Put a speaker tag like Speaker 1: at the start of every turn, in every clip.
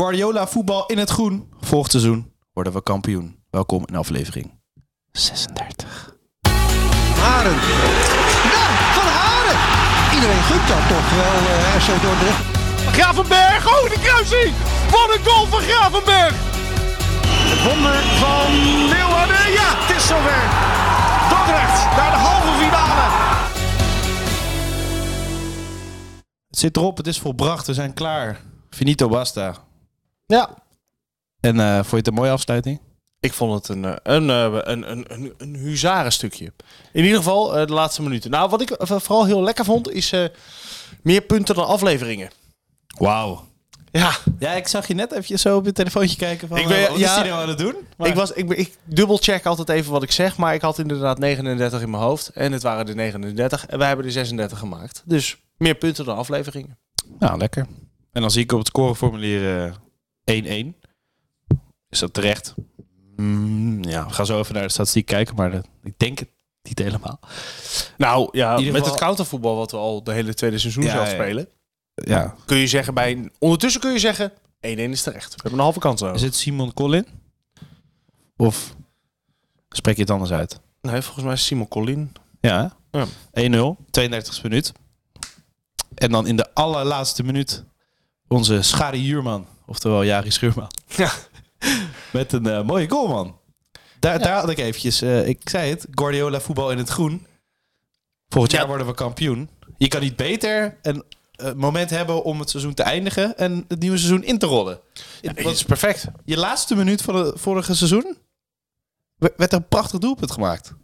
Speaker 1: Guardiola voetbal in het groen. Volgend seizoen worden we kampioen. Welkom in aflevering 36.
Speaker 2: Haren. Ja, van Haren. Iedereen gunt dat toch wel, eh RC Dordrecht.
Speaker 3: Gravenberg, oh de kruising! Wat een goal van Gravenberg! Het wonder van Leeuwarden, ja het is zover! Dordrecht naar de halve finale!
Speaker 1: Het zit erop, het is volbracht, we zijn klaar. Finito basta.
Speaker 4: Ja.
Speaker 1: En eh, vond je het een mooie afsluiting?
Speaker 3: Ik vond het een, eh, een, eh, een, een, een, een huzarenstukje. In ieder geval eh, de laatste minuten. Nou, wat ik eh, vooral heel lekker vond is eh, meer punten dan afleveringen.
Speaker 1: Wauw.
Speaker 3: Ja,
Speaker 1: Ja, ik zag je net even zo op je telefoontje kijken van
Speaker 3: Ik ben-
Speaker 1: eh, wat is
Speaker 3: ja.
Speaker 1: hij nou aan het doen? Maar-
Speaker 3: ik, was, ik, ben- ik dubbelcheck altijd even wat ik zeg, maar ik had inderdaad 39 in mijn hoofd. En het waren de 39 en wij hebben er 36 gemaakt. Dus meer punten dan afleveringen.
Speaker 1: Nou, lekker. En dan zie ik op het scoreformulier eh 1-1. Is dat terecht? Mm, ja, we gaan zo even naar de statistiek kijken, maar dat- ik denk het niet helemaal.
Speaker 3: Nou ja,
Speaker 1: In
Speaker 3: met
Speaker 1: ieder geval-
Speaker 3: het countervoetbal wat we al de hele tweede seizoen
Speaker 1: Ja,
Speaker 3: zelf
Speaker 1: ja.
Speaker 3: spelen,
Speaker 1: Ja.
Speaker 3: kun je zeggen bij een- ondertussen kun je zeggen 1-1 is terecht. We hebben een halve kans over.
Speaker 1: Oh. Is het Simon Collin? Of spreek je het anders uit?
Speaker 3: Nee, volgens mij is Simon Collin.
Speaker 1: Ja. hè? 1-0,
Speaker 3: Ja.
Speaker 1: 32e minuut. En dan in de allerlaatste minuut onze Schari Juurman, oftewel Jari Schuurman.
Speaker 3: Ja.
Speaker 1: Met een eh, mooie goal, man. Daar, daar had ik eventjes, eh, ik zei het, Guardiola voetbal in het groen. Volgend
Speaker 3: Ja.
Speaker 1: jaar worden we kampioen. Je kan niet beter een eh, moment hebben om het seizoen te eindigen en het nieuwe seizoen in te rollen.
Speaker 3: Dat
Speaker 1: Want
Speaker 3: is perfect.
Speaker 1: je laatste minuut van het vorige seizoen we- werd er een prachtig doelpunt gemaakt. Om,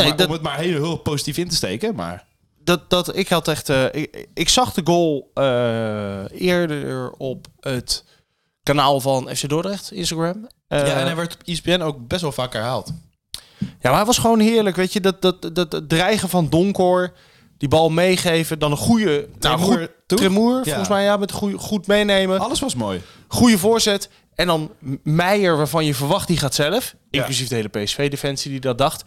Speaker 3: Nee,
Speaker 1: maar-
Speaker 3: dat-
Speaker 1: om het maar heel, heel positief in te steken, maar...
Speaker 3: Dat, dat, ik, had echt, eh, ik, ik zag de goal eh, eerder op het kanaal van FC Dordrecht, Instagram. Eh,
Speaker 1: ja, en hij werd op E ESPN ook best wel vaak herhaald.
Speaker 3: Ja, maar het was gewoon heerlijk. Weet je, dat, dat, dat, dat dreigen van Donkor. Die bal meegeven. Dan een goede. Nou,
Speaker 1: Tremoer,
Speaker 3: goed,
Speaker 1: toch?
Speaker 3: Tremoer,
Speaker 1: Ja.
Speaker 3: volgens mij. Ja, met goeie, goed meenemen.
Speaker 1: Alles was mooi.
Speaker 3: goede voorzet. En dan M- Meijer, waarvan je verwacht, die gaat zelf.
Speaker 1: Ja.
Speaker 3: Inclusief de hele PSV-defensie die dat dacht.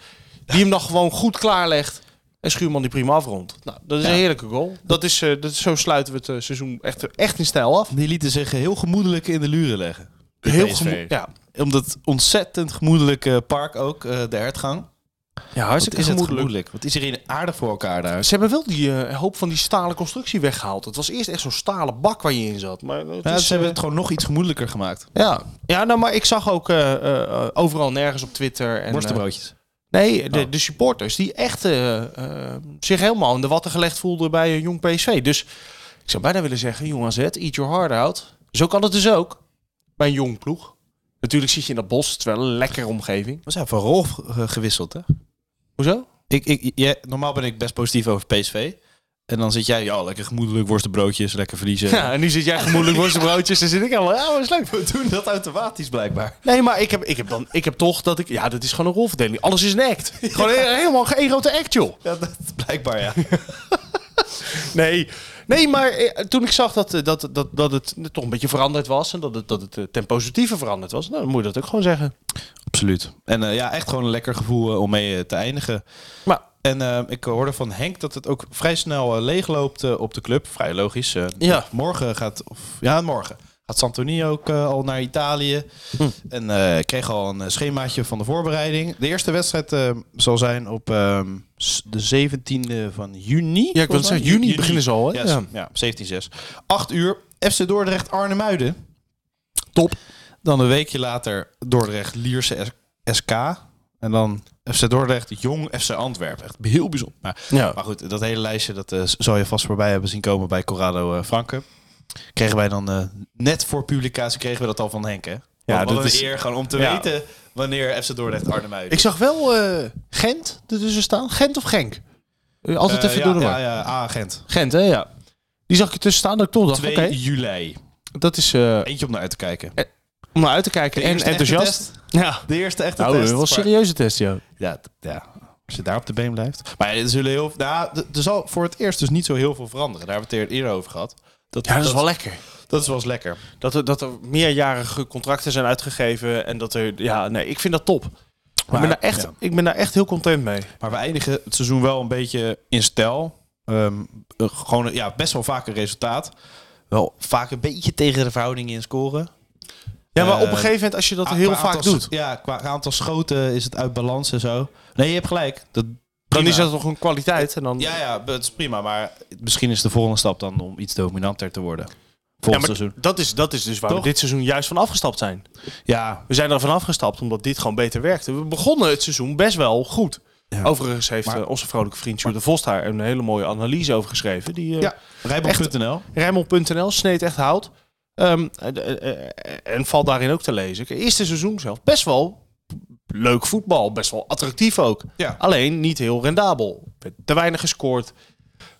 Speaker 3: Die hem dan gewoon goed klaarlegt. En Schuurman die prima afrondt. Nou, dat is
Speaker 1: Ja.
Speaker 3: een heerlijke goal. Dat is, eh, dat, zo sluiten we het eh, seizoen echt, echt in stijl af.
Speaker 1: Die lieten zich heel gemoedelijk in de luren leggen.
Speaker 3: Heel
Speaker 1: PSV.
Speaker 3: gemo- ja.
Speaker 1: Omdat ontzettend gemoedelijke park ook, eh, de hertgang.
Speaker 3: ja,
Speaker 1: Wat
Speaker 3: hartstikke
Speaker 1: is het
Speaker 3: gemoedelijk.
Speaker 1: gemoedelijk? Wat is iedereen aardig voor elkaar daar?
Speaker 3: Ze hebben wel die eh, hoop van die stalen constructie weggehaald. Het was eerst echt zo'n stalen bak waar je in zat. Maar het
Speaker 1: Ja,
Speaker 3: is,
Speaker 1: ze hebben
Speaker 3: eh,
Speaker 1: het gewoon nog iets gemoedelijker gemaakt.
Speaker 3: ja. ja nou, maar ik zag ook eh, eh, eh, overal nergens op Twitter. En, eh,
Speaker 1: Worstenbroodjes.
Speaker 3: Nee, de,
Speaker 1: Oh.
Speaker 3: de supporters die echt eh, eh, zich helemaal in de watten gelegd voelden bij eh, jong PSV. Dus ik zou bijna willen zeggen, jong AZ, eat your heart out. Zo kan het dus ook bij een jong ploeg. Natuurlijk zit je in dat bos, het is wel een lekkere omgeving.
Speaker 1: We zijn van rol eh, gewisseld, hè?
Speaker 3: Hoezo?
Speaker 1: Ik, ik, jij- normaal ben ik best positief over PSV. En dan zit jij, ja, lekker gemoedelijk worstenbroodjes, lekker verliezen.
Speaker 3: Ja, en nu zit jij gemoedelijk worstenbroodjes en zit ik helemaal, ja, wat is leuk.
Speaker 1: We doen dat automatisch blijkbaar.
Speaker 3: Nee, maar ik heb, ik heb, dan, ik heb toch dat ik, ja, dat is gewoon een rolverdeling. Alles is een act. Gewoon he- helemaal geen grote act, joh.
Speaker 1: Ja, dat blijkbaar, ja.
Speaker 3: Nee, nee maar eh, toen ik zag dat, eh, dat, dat, dat het toch een beetje veranderd was en dat het, dat het eh, ten positieve veranderd was, nou, dan moet je dat ook gewoon zeggen.
Speaker 1: Absoluut. En eh, ja, echt gewoon een lekker gevoel eh, om mee eh, te eindigen.
Speaker 3: Maar-
Speaker 1: en eh, ik hoorde van Henk dat het ook vrij snel eh, leegloopt eh, op de club. Vrij logisch. eh,
Speaker 3: Ja.
Speaker 1: Morgen gaat, of, ja, morgen gaat Santoni ook eh, al naar Italië. En eh, ik kreeg al een eh, schemaatje van de voorbereiding. De eerste wedstrijd eh, zal zijn op ehm, s- de 17e van juni.
Speaker 3: Ja, ik wil
Speaker 1: volgens mij.
Speaker 3: zeggen, juni beginnen ze al, hè?
Speaker 1: Yes,
Speaker 3: Ja.
Speaker 1: ja, 17-6. 8 uur, FC Dordrecht Arnhemuiden.
Speaker 3: Top.
Speaker 1: Dan een weekje later Dordrecht Lierse S- SK. En dan FC Dordrecht Jong FC Antwerpen. Echt heel bijzonder. Maar,
Speaker 3: Ja.
Speaker 1: maar goed, dat hele lijstje dat, eh, z- zal je vast voorbij hebben zien komen bij Corrado eh Franke. Kregen wij dan eh, net voor publicatie kregen we dat al van Henk, hè? Ja, dat
Speaker 3: dat
Speaker 1: is
Speaker 3: is-
Speaker 1: eer gewoon om te
Speaker 3: Ja.
Speaker 1: weten wanneer FC Dordrecht Arnhemuiden.
Speaker 3: Ik zag wel eh, Gent ertussen staan. Gent of Genk? Eh, Altijd
Speaker 1: Eh,
Speaker 3: even
Speaker 1: ja,
Speaker 3: door de war.
Speaker 1: ja, ja, agent.
Speaker 3: Gent, hè? Ja. Die zag ik ertussen staan dat ik toch dacht,
Speaker 1: 2
Speaker 3: oké,
Speaker 1: juli.
Speaker 3: dat is eh,
Speaker 1: Eentje om naar uit te kijken.
Speaker 3: om naar uit te kijken en
Speaker 1: eerste echte
Speaker 3: enthousiast.
Speaker 1: test.
Speaker 3: Ja.
Speaker 1: De eerste echte
Speaker 3: Nou,
Speaker 1: test.
Speaker 3: dat was
Speaker 1: maar-
Speaker 3: een serieuze test, ja.
Speaker 1: Ja, t- ja, als je daar op de been blijft. Maar er, zullen heel, nou, d- er zal voor het eerst dus niet zo heel veel veranderen. Daar hebben we het eerder over gehad. Dat,
Speaker 3: Ja, dat is wel lekker.
Speaker 1: dat is wel eens lekker.
Speaker 3: Dat er, dat er meerjarige contracten zijn uitgegeven en dat er... Ja, nee, ik vind dat top. ik, ben daar echt,
Speaker 1: ja.
Speaker 3: ik ben daar echt heel content mee.
Speaker 1: Maar we eindigen het seizoen wel een beetje in stijl. Ehm, eh, gewoon eh, ja, best wel vaak een resultaat. wel vaak een beetje tegen de verhouding in scoren.
Speaker 3: Ja, maar
Speaker 1: Eh,
Speaker 3: op een gegeven moment, als je dat
Speaker 1: Ah,
Speaker 3: heel
Speaker 1: qua
Speaker 3: vaak
Speaker 1: aantal-
Speaker 3: doet,
Speaker 1: Ja, qua aantal schoten is het uit balans en zo. Nee, je hebt gelijk. Dat,
Speaker 3: dan
Speaker 1: prima.
Speaker 3: is dat toch een kwaliteit. En dan,
Speaker 1: Ja, ja, dat is prima. Maar misschien is de volgende stap dan om iets dominanter te worden.
Speaker 3: Ja,
Speaker 1: Volgend
Speaker 3: maar
Speaker 1: seizoen.
Speaker 3: dat is, dat is dus waar
Speaker 1: Toch?
Speaker 3: we dit seizoen juist van afgestapt zijn.
Speaker 1: Ja,
Speaker 3: We zijn er van afgestapt omdat dit gewoon beter werkte. We begonnen het seizoen best wel goed.
Speaker 1: Ja.
Speaker 3: Overigens heeft
Speaker 1: Maar-
Speaker 3: eh, onze vrolijke vriend Jules de Vos daar een hele mooie analyse over geschreven. Die eh,
Speaker 1: ja. Rijbond.nl.
Speaker 3: Rijnmond.nl, sneed echt hout. Ehm, eh, eh, eh, en valt daarin ook te lezen. Kijk, Eerste seizoen zelf best wel leuk voetbal. Best wel attractief ook.
Speaker 1: Ja.
Speaker 3: Alleen niet heel rendabel. Werd Te weinig gescoord.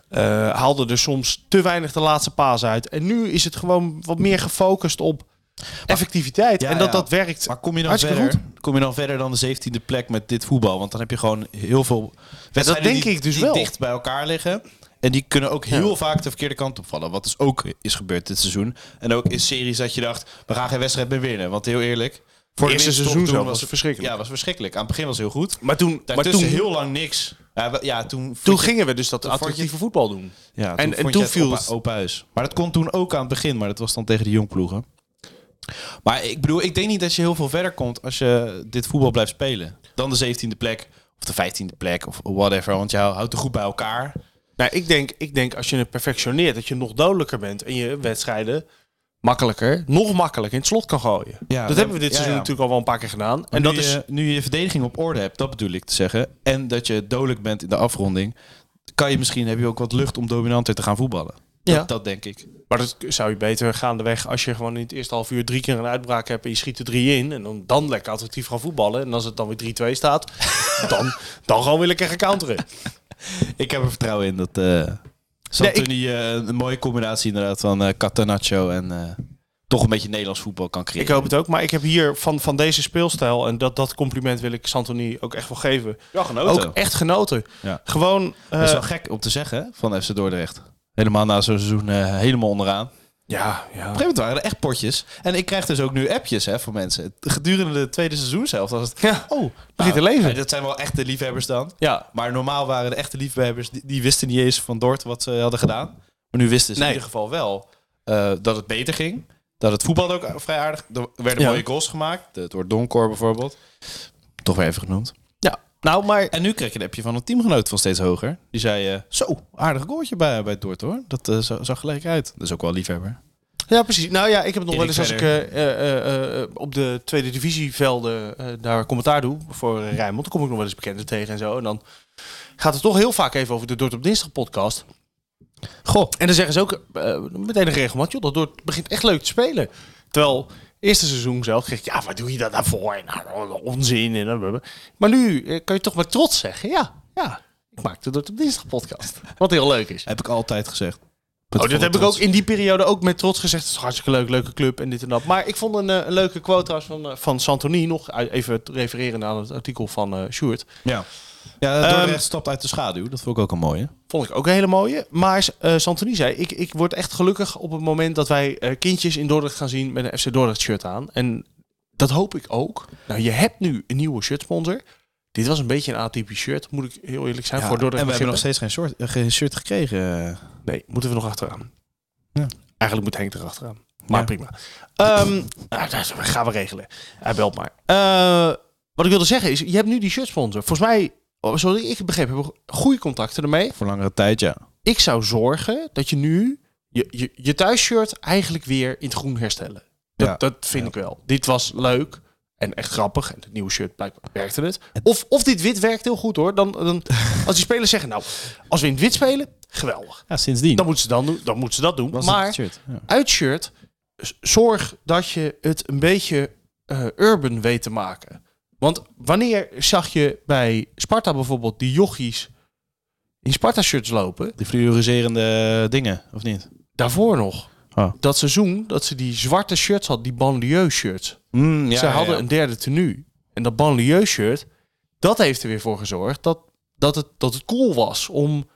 Speaker 3: Eh, haalde er soms te weinig de laatste paas uit. En nu is het gewoon wat meer gefocust op effectiviteit.
Speaker 1: Ja,
Speaker 3: en dat
Speaker 1: ja.
Speaker 3: dat werkt.
Speaker 1: Maar kom je, dan
Speaker 3: Hartstikke
Speaker 1: verder, kom je dan verder dan de 17e plek met dit voetbal? Want dan heb je gewoon heel veel wedstrijden
Speaker 3: denk
Speaker 1: die,
Speaker 3: ik dus
Speaker 1: die
Speaker 3: wel.
Speaker 1: dicht bij elkaar liggen. En die kunnen ook heel vaak de verkeerde kant opvallen. Wat dus ook is gebeurd dit seizoen. En ook in series dat je dacht, we gaan geen wedstrijd meer winnen. Want heel eerlijk... Voor
Speaker 3: eerste
Speaker 1: winst tot
Speaker 3: seizoen
Speaker 1: toen
Speaker 3: zo was het verschrikkelijk.
Speaker 1: Ja, was verschrikkelijk. Aan het begin was het heel goed.
Speaker 3: Maar toen, maar
Speaker 1: Daartussen
Speaker 3: toen,
Speaker 1: heel lang niks. Ja, we- ja toen,
Speaker 3: toen gingen we dus dat
Speaker 1: vond je-
Speaker 3: attractieve voetbal doen.
Speaker 1: Ja,
Speaker 3: En- en
Speaker 1: vond
Speaker 3: toen
Speaker 1: je het
Speaker 3: viel
Speaker 1: opa-
Speaker 3: het-
Speaker 1: open huis. Maar dat kon toen ook aan het begin, maar dat was dan tegen de jongploegen. Maar ik bedoel, ik denk niet dat je heel veel verder komt als je dit voetbal blijft spelen. Dan de 17e plek of de 15e plek of whatever, want je hou- houdt er goed bij elkaar.
Speaker 3: Nou, ik denk, ik denk als je het perfectioneert, dat je nog dodelijker bent en je wedstrijden makkelijker, nog makkelijker in het slot kan gooien.
Speaker 1: Ja,
Speaker 3: dat
Speaker 1: dat-
Speaker 3: hebben we dit
Speaker 1: ja,
Speaker 3: seizoen
Speaker 1: ja. eh,
Speaker 3: natuurlijk al wel een paar keer gedaan.
Speaker 1: En
Speaker 3: en dat
Speaker 1: nu,
Speaker 3: is
Speaker 1: je, nu je je verdediging op orde hebt, dat bedoel ik te zeggen, en dat je dodelijk bent in de afronding, kan je misschien, heb je ook wat lucht om dominanter te gaan voetballen.
Speaker 3: Ja.
Speaker 1: Dat, dat denk ik.
Speaker 3: Maar dat zou je beter gaandeweg als je gewoon in het eerste half uur drie keer een uitbraak hebt en je schiet er drie in. En dan, dan lekker attractief gaan voetballen. En als het dan weer 3-2 staat, dan, dan gewoon weer lekker gaan counteren.
Speaker 1: Ik heb er vertrouwen in dat eh Santoni eh, een mooie combinatie inderdaad van eh Catanaccio en eh, toch een beetje Nederlands voetbal kan creëren.
Speaker 3: Ik hoop het ook. Maar ik heb hier van, van deze speelstijl, en dat, dat compliment wil ik Santoni ook echt wel geven.
Speaker 1: Ja, genoten.
Speaker 3: Ook echt genoten.
Speaker 1: Ja.
Speaker 3: Gewoon... eh,
Speaker 1: dat is wel gek om te zeggen hè, van FC Dordrecht. Helemaal na zo'n seizoen eh, helemaal onderaan. Op een
Speaker 3: ja, ja.
Speaker 1: gegeven moment waren er echt potjes. En ik krijg dus ook nu appjes hè, van mensen. Gedurende de tweede seizoen zelf. was het,
Speaker 3: Ja.
Speaker 1: oh,
Speaker 3: Begint te
Speaker 1: nou,
Speaker 3: leven.
Speaker 1: Dat zijn wel echte liefhebbers dan.
Speaker 3: Ja,
Speaker 1: Maar normaal waren de echte liefhebbers, die, die wisten niet eens van Dort wat ze hadden gedaan. Maar nu wisten ze
Speaker 3: Nee.
Speaker 1: in ieder geval wel eh, dat het beter ging. Dat het voetbal ook vrij aardig... Er werden
Speaker 3: Ja.
Speaker 1: mooie goals gemaakt. Het wordt Donkor bijvoorbeeld. Toch weer even genoemd.
Speaker 3: Ja, nou, maar
Speaker 1: En nu kreeg je een appje van een teamgenoot van steeds hoger. Die zei, eh, zo, aardig goaltje bij, bij Dort hoor. Dat eh, zo- zag gelijk uit. Dat is ook wel liefhebber.
Speaker 3: ja, precies. Nou ja, ik heb nog wel
Speaker 1: Erik
Speaker 3: eens als ik
Speaker 1: verder.
Speaker 3: eh, eh, eh, eh, op de tweede divisievelden eh, daar commentaar doe voor eh, Rijnmond, dan kom ik nog wel eens bekenden tegen en zo. En dan gaat het toch heel vaak even over de Dordt op Dinsdag podcast.
Speaker 1: Goh.
Speaker 3: En dan zeggen ze ook eh, meteen een regelmaat, joh, dat Dordt begint echt leuk te spelen. Terwijl eerste seizoen zelf kreeg ik, ja, wat doe je dat daarvoor? En, nou, onzin. En, blablabla. maar nu eh, kan je toch met trots zeggen, ja, ja, ik maak de Dordt op Dinsdag podcast. Wat heel leuk is.
Speaker 1: Heb ik altijd gezegd.
Speaker 3: Oh, dat heb ik
Speaker 1: trots.
Speaker 3: ook in die periode ook met trots gezegd. Het is hartstikke leuk, leuke club en dit en dat. Maar ik vond een, eh, een leuke quote trouwens van, eh, van Santoni nog. uit- Even refereren aan het artikel van eh Sjoerd.
Speaker 1: Ja. Ja, Dordrecht
Speaker 3: Ehm,
Speaker 1: stapt uit de schaduw. Dat vond ik ook een mooie.
Speaker 3: Vond ik ook een hele mooie. Maar eh Santoni zei, ik, ik word echt gelukkig op het moment dat wij eh, kindjes in Dordrecht gaan zien met een FC Dordrecht shirt aan. En dat hoop ik ook. Nou, je hebt nu een nieuwe shirtsponsor. Dit was een beetje een atypisch shirt, moet ik heel eerlijk zijn.
Speaker 1: Ja,
Speaker 3: voor
Speaker 1: en we
Speaker 3: Dordrecht
Speaker 1: hebben nog
Speaker 3: begrippen.
Speaker 1: steeds geen, soort, eh, geen shirt gekregen. eh,
Speaker 3: Nee, moeten we nog achteraan.
Speaker 1: Ja.
Speaker 3: Eigenlijk moet Henk erachteraan. Maar
Speaker 1: Ja.
Speaker 3: prima. Ehm, nou, dat gaan we regelen. Hij belt maar. Eh, wat ik wilde zeggen is, je hebt nu die shirtsponsor. Volgens mij, oh, zoals ik het begrepen heb, goede contacten ermee.
Speaker 1: Voor langere tijd, ja.
Speaker 3: Ik zou zorgen dat je nu je, je, je thuisshirt eigenlijk weer in het groen herstellen. Dat,
Speaker 1: Ja.
Speaker 3: dat vind ik wel. Dit was leuk en echt grappig. En het nieuwe shirt blijkbaar werkte het. Of, of dit wit werkt heel goed hoor. Dan, dan, als die spelers zeggen, nou, als we in het wit spelen, geweldig.
Speaker 1: Ja, sindsdien.
Speaker 3: Dan moeten ze, dan doen, dan moeten ze dat doen.
Speaker 1: was het
Speaker 3: maar
Speaker 1: het shirt. Ja.
Speaker 3: uitshirt, z- zorg dat je het een beetje eh, urban weet te maken. Want wanneer zag je bij Sparta bijvoorbeeld die jochies in Sparta-shirts lopen?
Speaker 1: Die fluoriserende dingen, of niet?
Speaker 3: Daarvoor nog.
Speaker 1: Oh.
Speaker 3: Dat seizoen dat ze die zwarte shirts had, die banlieue-shirts.
Speaker 1: Mm,
Speaker 3: ze hadden een derde tenue. En dat banlieue-shirt, dat heeft er weer voor gezorgd dat, dat, het, dat het cool was om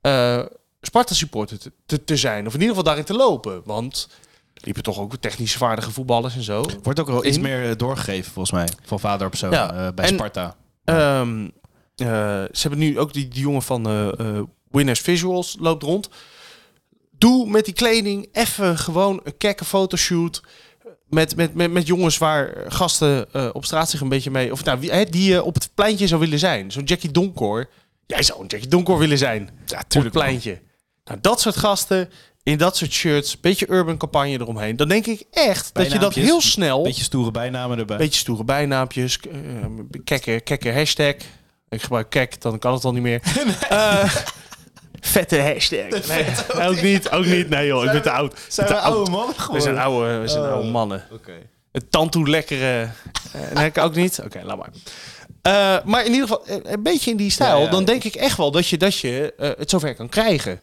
Speaker 3: eh, Sparta-supporter te, te, te zijn. Of in ieder geval daarin te lopen. Want liepen toch ook technisch vaardige voetballers en zo.
Speaker 1: Wordt ook wel iets
Speaker 3: In?
Speaker 1: meer eh, doorgegeven, volgens mij. Van vader op zoon
Speaker 3: Ja,
Speaker 1: eh, bij
Speaker 3: en-
Speaker 1: Sparta.
Speaker 3: Ehm, eh, ze hebben nu ook die, die jongen van eh, eh, Winners Visuals loopt rond. Doe met die kleding even gewoon een kekke fotoshoot. Met, met, met, met jongens waar gasten eh, op straat zich een beetje mee... Of nou, wie, hè, die je op het pleintje zou willen zijn. Zo'n Jackie Donkor. Jij zou een Jackie Donkor willen zijn. Ja,
Speaker 1: tuurlijk,
Speaker 3: Op het pleintje. Nou, dat soort gasten in dat soort shirts. Beetje urban campagne eromheen. Dan denk ik echt dat je dat
Speaker 1: Bijnaampjes.
Speaker 3: heel snel...
Speaker 1: Beetje stoere bijnamen erbij.
Speaker 3: Beetje stoere bijnaampjes, k- eh, kekke, kekke hashtag. Ik gebruik kek, dan kan het al niet meer. Eh, vette hashtag. Nee, ook niet, ook niet. Nee joh, ik ben te oud.
Speaker 1: zijn
Speaker 3: te
Speaker 1: we oude mannen
Speaker 3: We
Speaker 1: geworden? Oh.
Speaker 3: zijn oude, we zijn oude Nou, mannen.
Speaker 1: Oké.
Speaker 3: Het tantoe lekkere. eh, nee, ik ook niet. Oké, laat maar. Eh, maar in ieder geval, eh, een beetje in die stijl.
Speaker 1: Ja, ja.
Speaker 3: Dan denk ik echt wel dat je, dat je eh, het zover kan krijgen.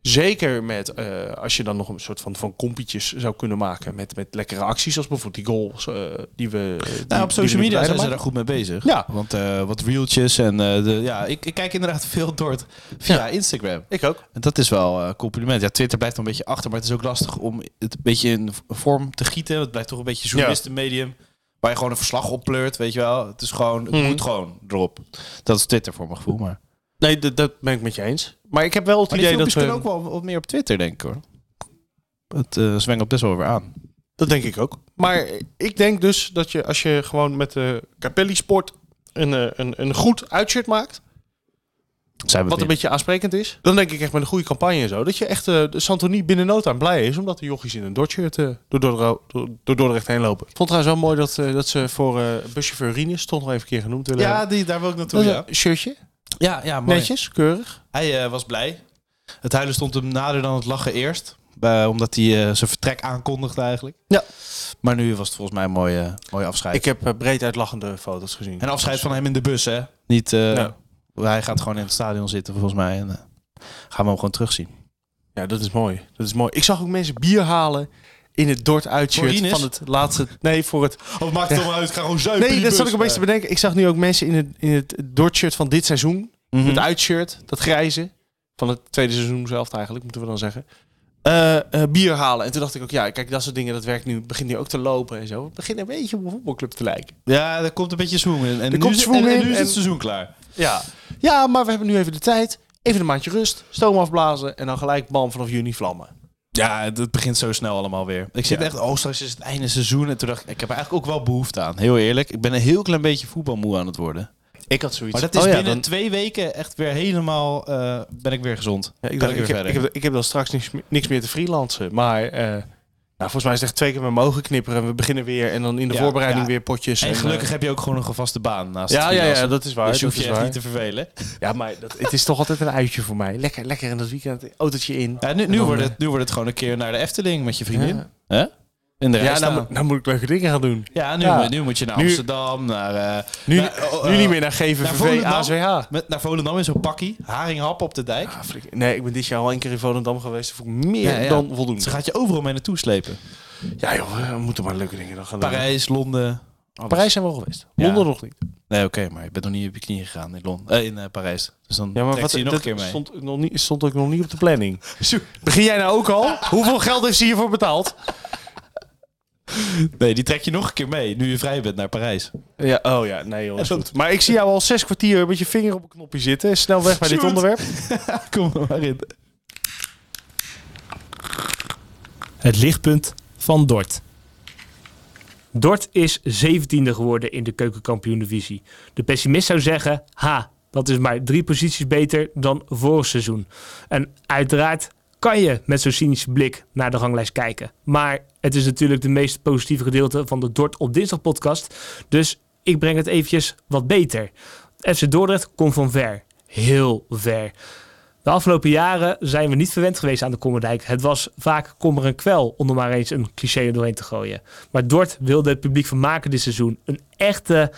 Speaker 3: Zeker met, eh, als je dan nog een soort van, van kompietjes zou kunnen maken. Met, met lekkere acties, als bijvoorbeeld die goals eh, die we...
Speaker 1: Nou, op social media zijn ze daar
Speaker 3: er
Speaker 1: goed mee bezig.
Speaker 3: Ja.
Speaker 1: Want eh, wat reeltjes en eh, de, ja, ik, ik kijk inderdaad veel door het, via
Speaker 3: Ja.
Speaker 1: Instagram.
Speaker 3: Ik ook.
Speaker 1: En dat is wel eh, een compliment. Ja, Twitter blijft nog een beetje achter, maar het is ook lastig om het een beetje in v- vorm te gieten. Het blijft toch een beetje journalistenmedium. Waar je gewoon een verslag op pleurt, weet je wel. Het is gewoon, het
Speaker 3: Mhm.
Speaker 1: moet gewoon erop. Dat is Twitter voor mijn gevoel, maar...
Speaker 3: Nee, dat, dat ben ik met je eens. Maar ik heb wel het
Speaker 1: Maar die
Speaker 3: idee dat eh,
Speaker 1: filmpjes
Speaker 3: we...
Speaker 1: kunnen ook wel wat meer op Twitter, denk ik hoor. Het eh zwengelt best wel weer aan.
Speaker 3: Dat denk ik ook. Maar ik denk dus dat je als je gewoon met de Capelli Sport een, eh, een, een goed uitshirt maakt...
Speaker 1: Zijn we het
Speaker 3: Wat een
Speaker 1: weer.
Speaker 3: beetje aansprekend is. Dan denk ik echt met een goede campagne en zo. Dat je echt eh de Santoni binnen nood aan blij is. Omdat de jochies in een dortshirt eh door, Dordro- door, door Dordrecht heen lopen. Ik vond het trouwens wel mooi dat, eh, dat ze voor eh buschauffeur Rinus... stond nog even een keer genoemd willen
Speaker 1: Ja, die, daar wil ik naartoe,
Speaker 3: dat
Speaker 1: ja.
Speaker 3: is een shirtje.
Speaker 1: Ja, ja, mooi.
Speaker 3: Netjes, keurig.
Speaker 1: Hij eh, was blij. Het huilen stond hem nader dan het lachen eerst. Eh, omdat hij eh, zijn vertrek aankondigde eigenlijk.
Speaker 3: Ja.
Speaker 1: Maar nu was het volgens mij een mooie, mooie afscheid.
Speaker 3: Ik heb eh, breed uitlachende foto's gezien.
Speaker 1: En afscheid van hem in de bus, hè? Niet, eh,
Speaker 3: Ja.
Speaker 1: Hij gaat gewoon in het stadion zitten, volgens mij. En eh, gaan we hem gewoon terugzien.
Speaker 3: Ja, dat is mooi. Dat is mooi. Ik zag ook mensen bier halen in het Dort
Speaker 1: Voor
Speaker 3: uitshirt
Speaker 1: Rinus?
Speaker 3: van het laatste... Nee, voor het...
Speaker 1: Of maakt Oh, het allemaal uit, ga gewoon zuipen.
Speaker 3: Nee, dat zat ik een beetje te bedenken. Ik zag nu ook mensen in het, in het Dort-shirt van dit seizoen...
Speaker 1: Mhm.
Speaker 3: Het uitshirt, dat grijze. Van het tweede seizoen zelf eigenlijk, moeten we dan zeggen. eh, eh, bier halen. En toen dacht ik ook, ja, kijk, dat soort dingen, dat werkt nu. Het begint nu ook te lopen en zo. Het begint een beetje op een voetbalclub te lijken.
Speaker 1: Ja, er komt een beetje zwoem in. En, nu,
Speaker 3: komt
Speaker 1: is-
Speaker 3: zwoem
Speaker 1: en- en
Speaker 3: in
Speaker 1: nu is het
Speaker 3: en-
Speaker 1: seizoen klaar.
Speaker 3: Ja. Ja, maar we hebben nu even de tijd. Even een maandje rust. Stoom afblazen. En dan gelijk, bam, vanaf juni vlammen.
Speaker 1: Ja, het, het begint zo snel allemaal weer. Ik zit
Speaker 3: Ja.
Speaker 1: echt, oh, straks is het einde seizoen. En toen dacht ik, ik heb er eigenlijk ook wel behoefte aan. Heel eerlijk, ik ben een heel klein beetje voetbalmoe aan het worden. Oh
Speaker 3: Ik had zoiets.
Speaker 1: Maar dat is binnen twee weken echt weer helemaal, eh, ben ik weer gezond.
Speaker 3: Ja, ik,
Speaker 1: Kan
Speaker 3: dacht,
Speaker 1: ik
Speaker 3: ik,
Speaker 1: weer
Speaker 3: heb, ik,
Speaker 1: verder?
Speaker 3: heb, ik heb dan straks niks, meer- niks meer te freelancen. Maar eh, nou, volgens mij is het echt twee keer met mogen knipperen. En we beginnen weer. En dan in de
Speaker 1: Ja,
Speaker 3: voorbereiding
Speaker 1: ja.
Speaker 3: weer potjes.
Speaker 1: En
Speaker 3: eh,
Speaker 1: gelukkig heb je ook gewoon nog een vaste baan naast
Speaker 3: ja,
Speaker 1: het
Speaker 3: ja, ja,
Speaker 1: freelancen.
Speaker 3: dat is waar.
Speaker 1: dus je
Speaker 3: dat
Speaker 1: hoeft je echt
Speaker 3: is waar.
Speaker 1: niet te vervelen.
Speaker 3: Ja, maar dat, het is toch altijd een uitje voor mij. Lekker, lekker in dat weekend. Autootje in.
Speaker 1: Ja, nu,
Speaker 3: En
Speaker 1: nu,
Speaker 3: dan,
Speaker 1: wordt
Speaker 3: eh,
Speaker 1: het, nu wordt het gewoon een keer naar de Efteling met je vriendin.
Speaker 3: Ja,
Speaker 1: In de
Speaker 3: ja
Speaker 1: rij
Speaker 3: nou,
Speaker 1: staan.
Speaker 3: moet- nou moet ik leuke dingen gaan doen.
Speaker 1: ja, nu,
Speaker 3: ja.
Speaker 1: moet- nu moet je naar
Speaker 3: Nu-
Speaker 1: Amsterdam, naar, eh,
Speaker 3: Nu,
Speaker 1: Nou, oh, oh,
Speaker 3: nu niet meer naar
Speaker 1: naar
Speaker 3: GVVV,
Speaker 1: Volendam?
Speaker 3: AZH.
Speaker 1: met, naar Volendam in zo'n pakkie. Haringhap op de dijk.
Speaker 3: Ah, flik- nee, ik ben dit jaar al één keer in Volendam geweest. Dat vond ik meer
Speaker 1: Ja, ja.
Speaker 3: dan voldoende.
Speaker 1: Ze gaat je overal mee naartoe slepen.
Speaker 3: Ja joh, we moeten maar leuke dingen dan gaan doen.
Speaker 1: Parijs, Londen. alles.
Speaker 3: Parijs zijn we al geweest.
Speaker 1: Ja.
Speaker 3: Londen nog niet.
Speaker 1: Nee, oké, maar je bent nog niet op je knieën gegaan in, Londen, eh, in eh, Parijs. Dus dan
Speaker 3: Ja, maar
Speaker 1: trekt
Speaker 3: wat,
Speaker 1: ze je nog een
Speaker 3: dat
Speaker 1: keer mee.
Speaker 3: Stond, nog niet, stond ook nog niet op de planning. Begin jij nou ook al? Hoeveel geld heeft ze hiervoor betaald?
Speaker 1: Nee, die trek je nog een keer mee, nu je vrij bent naar Parijs.
Speaker 3: Ja, oh ja, nee joh, is goed. Maar ik zie jou al zes kwartier met je vinger op een knopje zitten. Snel weg bij dit
Speaker 1: Sjoerd.
Speaker 3: onderwerp.
Speaker 1: Kom er maar in.
Speaker 4: Het lichtpunt van Dort. Dort is 17e geworden in de keukenkampioen-divisie. De pessimist zou zeggen: ha, dat is maar drie posities beter dan vorig seizoen. En uiteraard kan je met zo'n cynische blik naar de ganglijst kijken. Maar het is natuurlijk de meest positieve gedeelte van de Dort op dinsdag podcast. Dus ik breng het eventjes wat beter. FC Dordrecht komt van ver. Heel ver. De afgelopen jaren zijn we niet verwend geweest aan de Kommerdijk. Het was vaak kommer en kwel om er maar eens een cliché er doorheen te gooien. Maar Dort wilde het publiek van maken dit seizoen. Een echte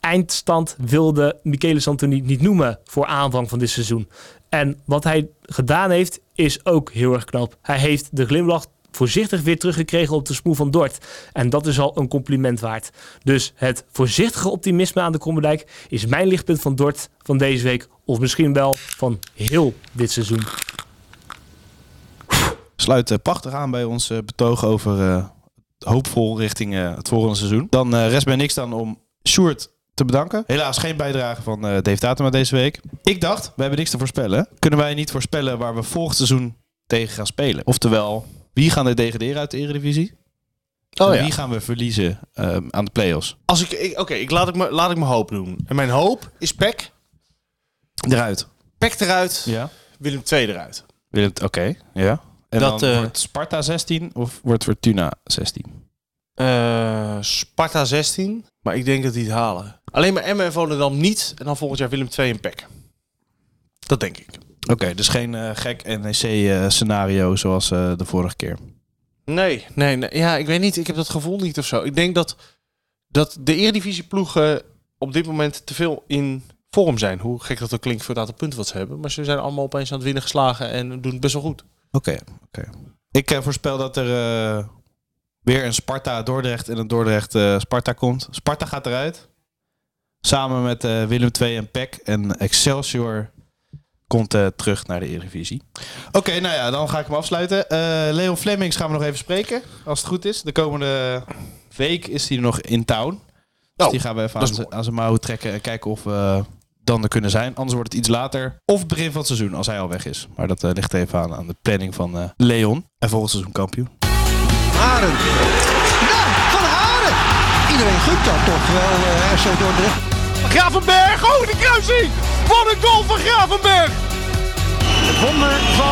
Speaker 4: eindstand wilde Michele Santoni niet noemen voor aanvang van dit seizoen. En wat hij gedaan heeft is ook heel erg knap. Hij heeft de glimlach voorzichtig weer teruggekregen op de smoel van Dort. En dat is al een compliment waard. Dus het voorzichtige optimisme aan de Kommerdijk is mijn lichtpunt van Dort van deze week. Of misschien wel van heel dit seizoen.
Speaker 1: sluit eh, prachtig aan bij ons eh, betoog over eh, hoopvol richting eh, het volgende seizoen. Dan eh, rest mij niks dan om Sjoerd te bedanken. Helaas geen bijdrage van eh Dave Datema deze week. Ik dacht, we hebben niks te voorspellen. Kunnen wij niet voorspellen waar we volgend seizoen tegen gaan spelen. Oftewel, wie gaan er degraderen uit de Eredivisie?
Speaker 3: Oh
Speaker 1: en
Speaker 3: ja.
Speaker 1: wie gaan we verliezen ehm, aan de play-offs?
Speaker 3: Als ik, ik- Oké, ik, laat ik me- laat ik mijn hoop doen. En mijn hoop is Peck.
Speaker 1: Eruit.
Speaker 3: Peck eruit,
Speaker 1: Ja.
Speaker 3: Willem II eruit.
Speaker 1: Willem, Oké, ja. En
Speaker 3: Dat,
Speaker 1: dan
Speaker 3: eh,
Speaker 1: wordt Sparta 16 of wordt Fortuna 16?
Speaker 3: Eh, Sparta 16, maar ik denk dat die het halen. Alleen maar Emmen en Volendam niet. En dan volgend jaar Willem II en Peck. Dat denk ik.
Speaker 1: Oké, dus geen eh, gek NEC-scenario eh, zoals eh, de vorige keer.
Speaker 3: Nee, nee, nee. Ja, ik weet niet. Ik heb dat gevoel niet of zo. Ik denk dat, dat de Eredivisie-ploegen op dit moment te veel in vorm zijn. Hoe gek dat ook klinkt voor het aantal punten wat ze hebben. Maar ze zijn allemaal opeens aan het winnen geslagen en doen het best wel goed.
Speaker 1: Oké, oké. Ik eh, voorspel dat er eh, weer een Sparta-Dordrecht en een Dordrecht-Sparta komt. Sparta gaat eruit. Samen met eh, Willem II en PEC. En Excelsior komt eh, terug naar de Eredivisie. Oké, nou ja, dan ga ik hem afsluiten. Eh Leon Flemings gaan we nog even spreken, als het goed is. De komende week is hij nog in town. Dus
Speaker 3: Oh,
Speaker 1: die gaan we even
Speaker 3: dat
Speaker 1: aan
Speaker 3: is
Speaker 1: z'n- aan zijn mouwen trekken en kijken of we dan er kunnen zijn. Anders wordt het iets later. Of het begin van het seizoen, als hij al weg is. Maar dat eh, ligt even aan, aan de planning van eh, Leon. En volgend seizoen kampioen.
Speaker 2: Haren. Nou, van Haren. Iedereen gunt dat toch wel eh RC Dordrecht.
Speaker 5: Gravenberg, oh de kruising! Wat een goal van Gravenberg! Het wonder van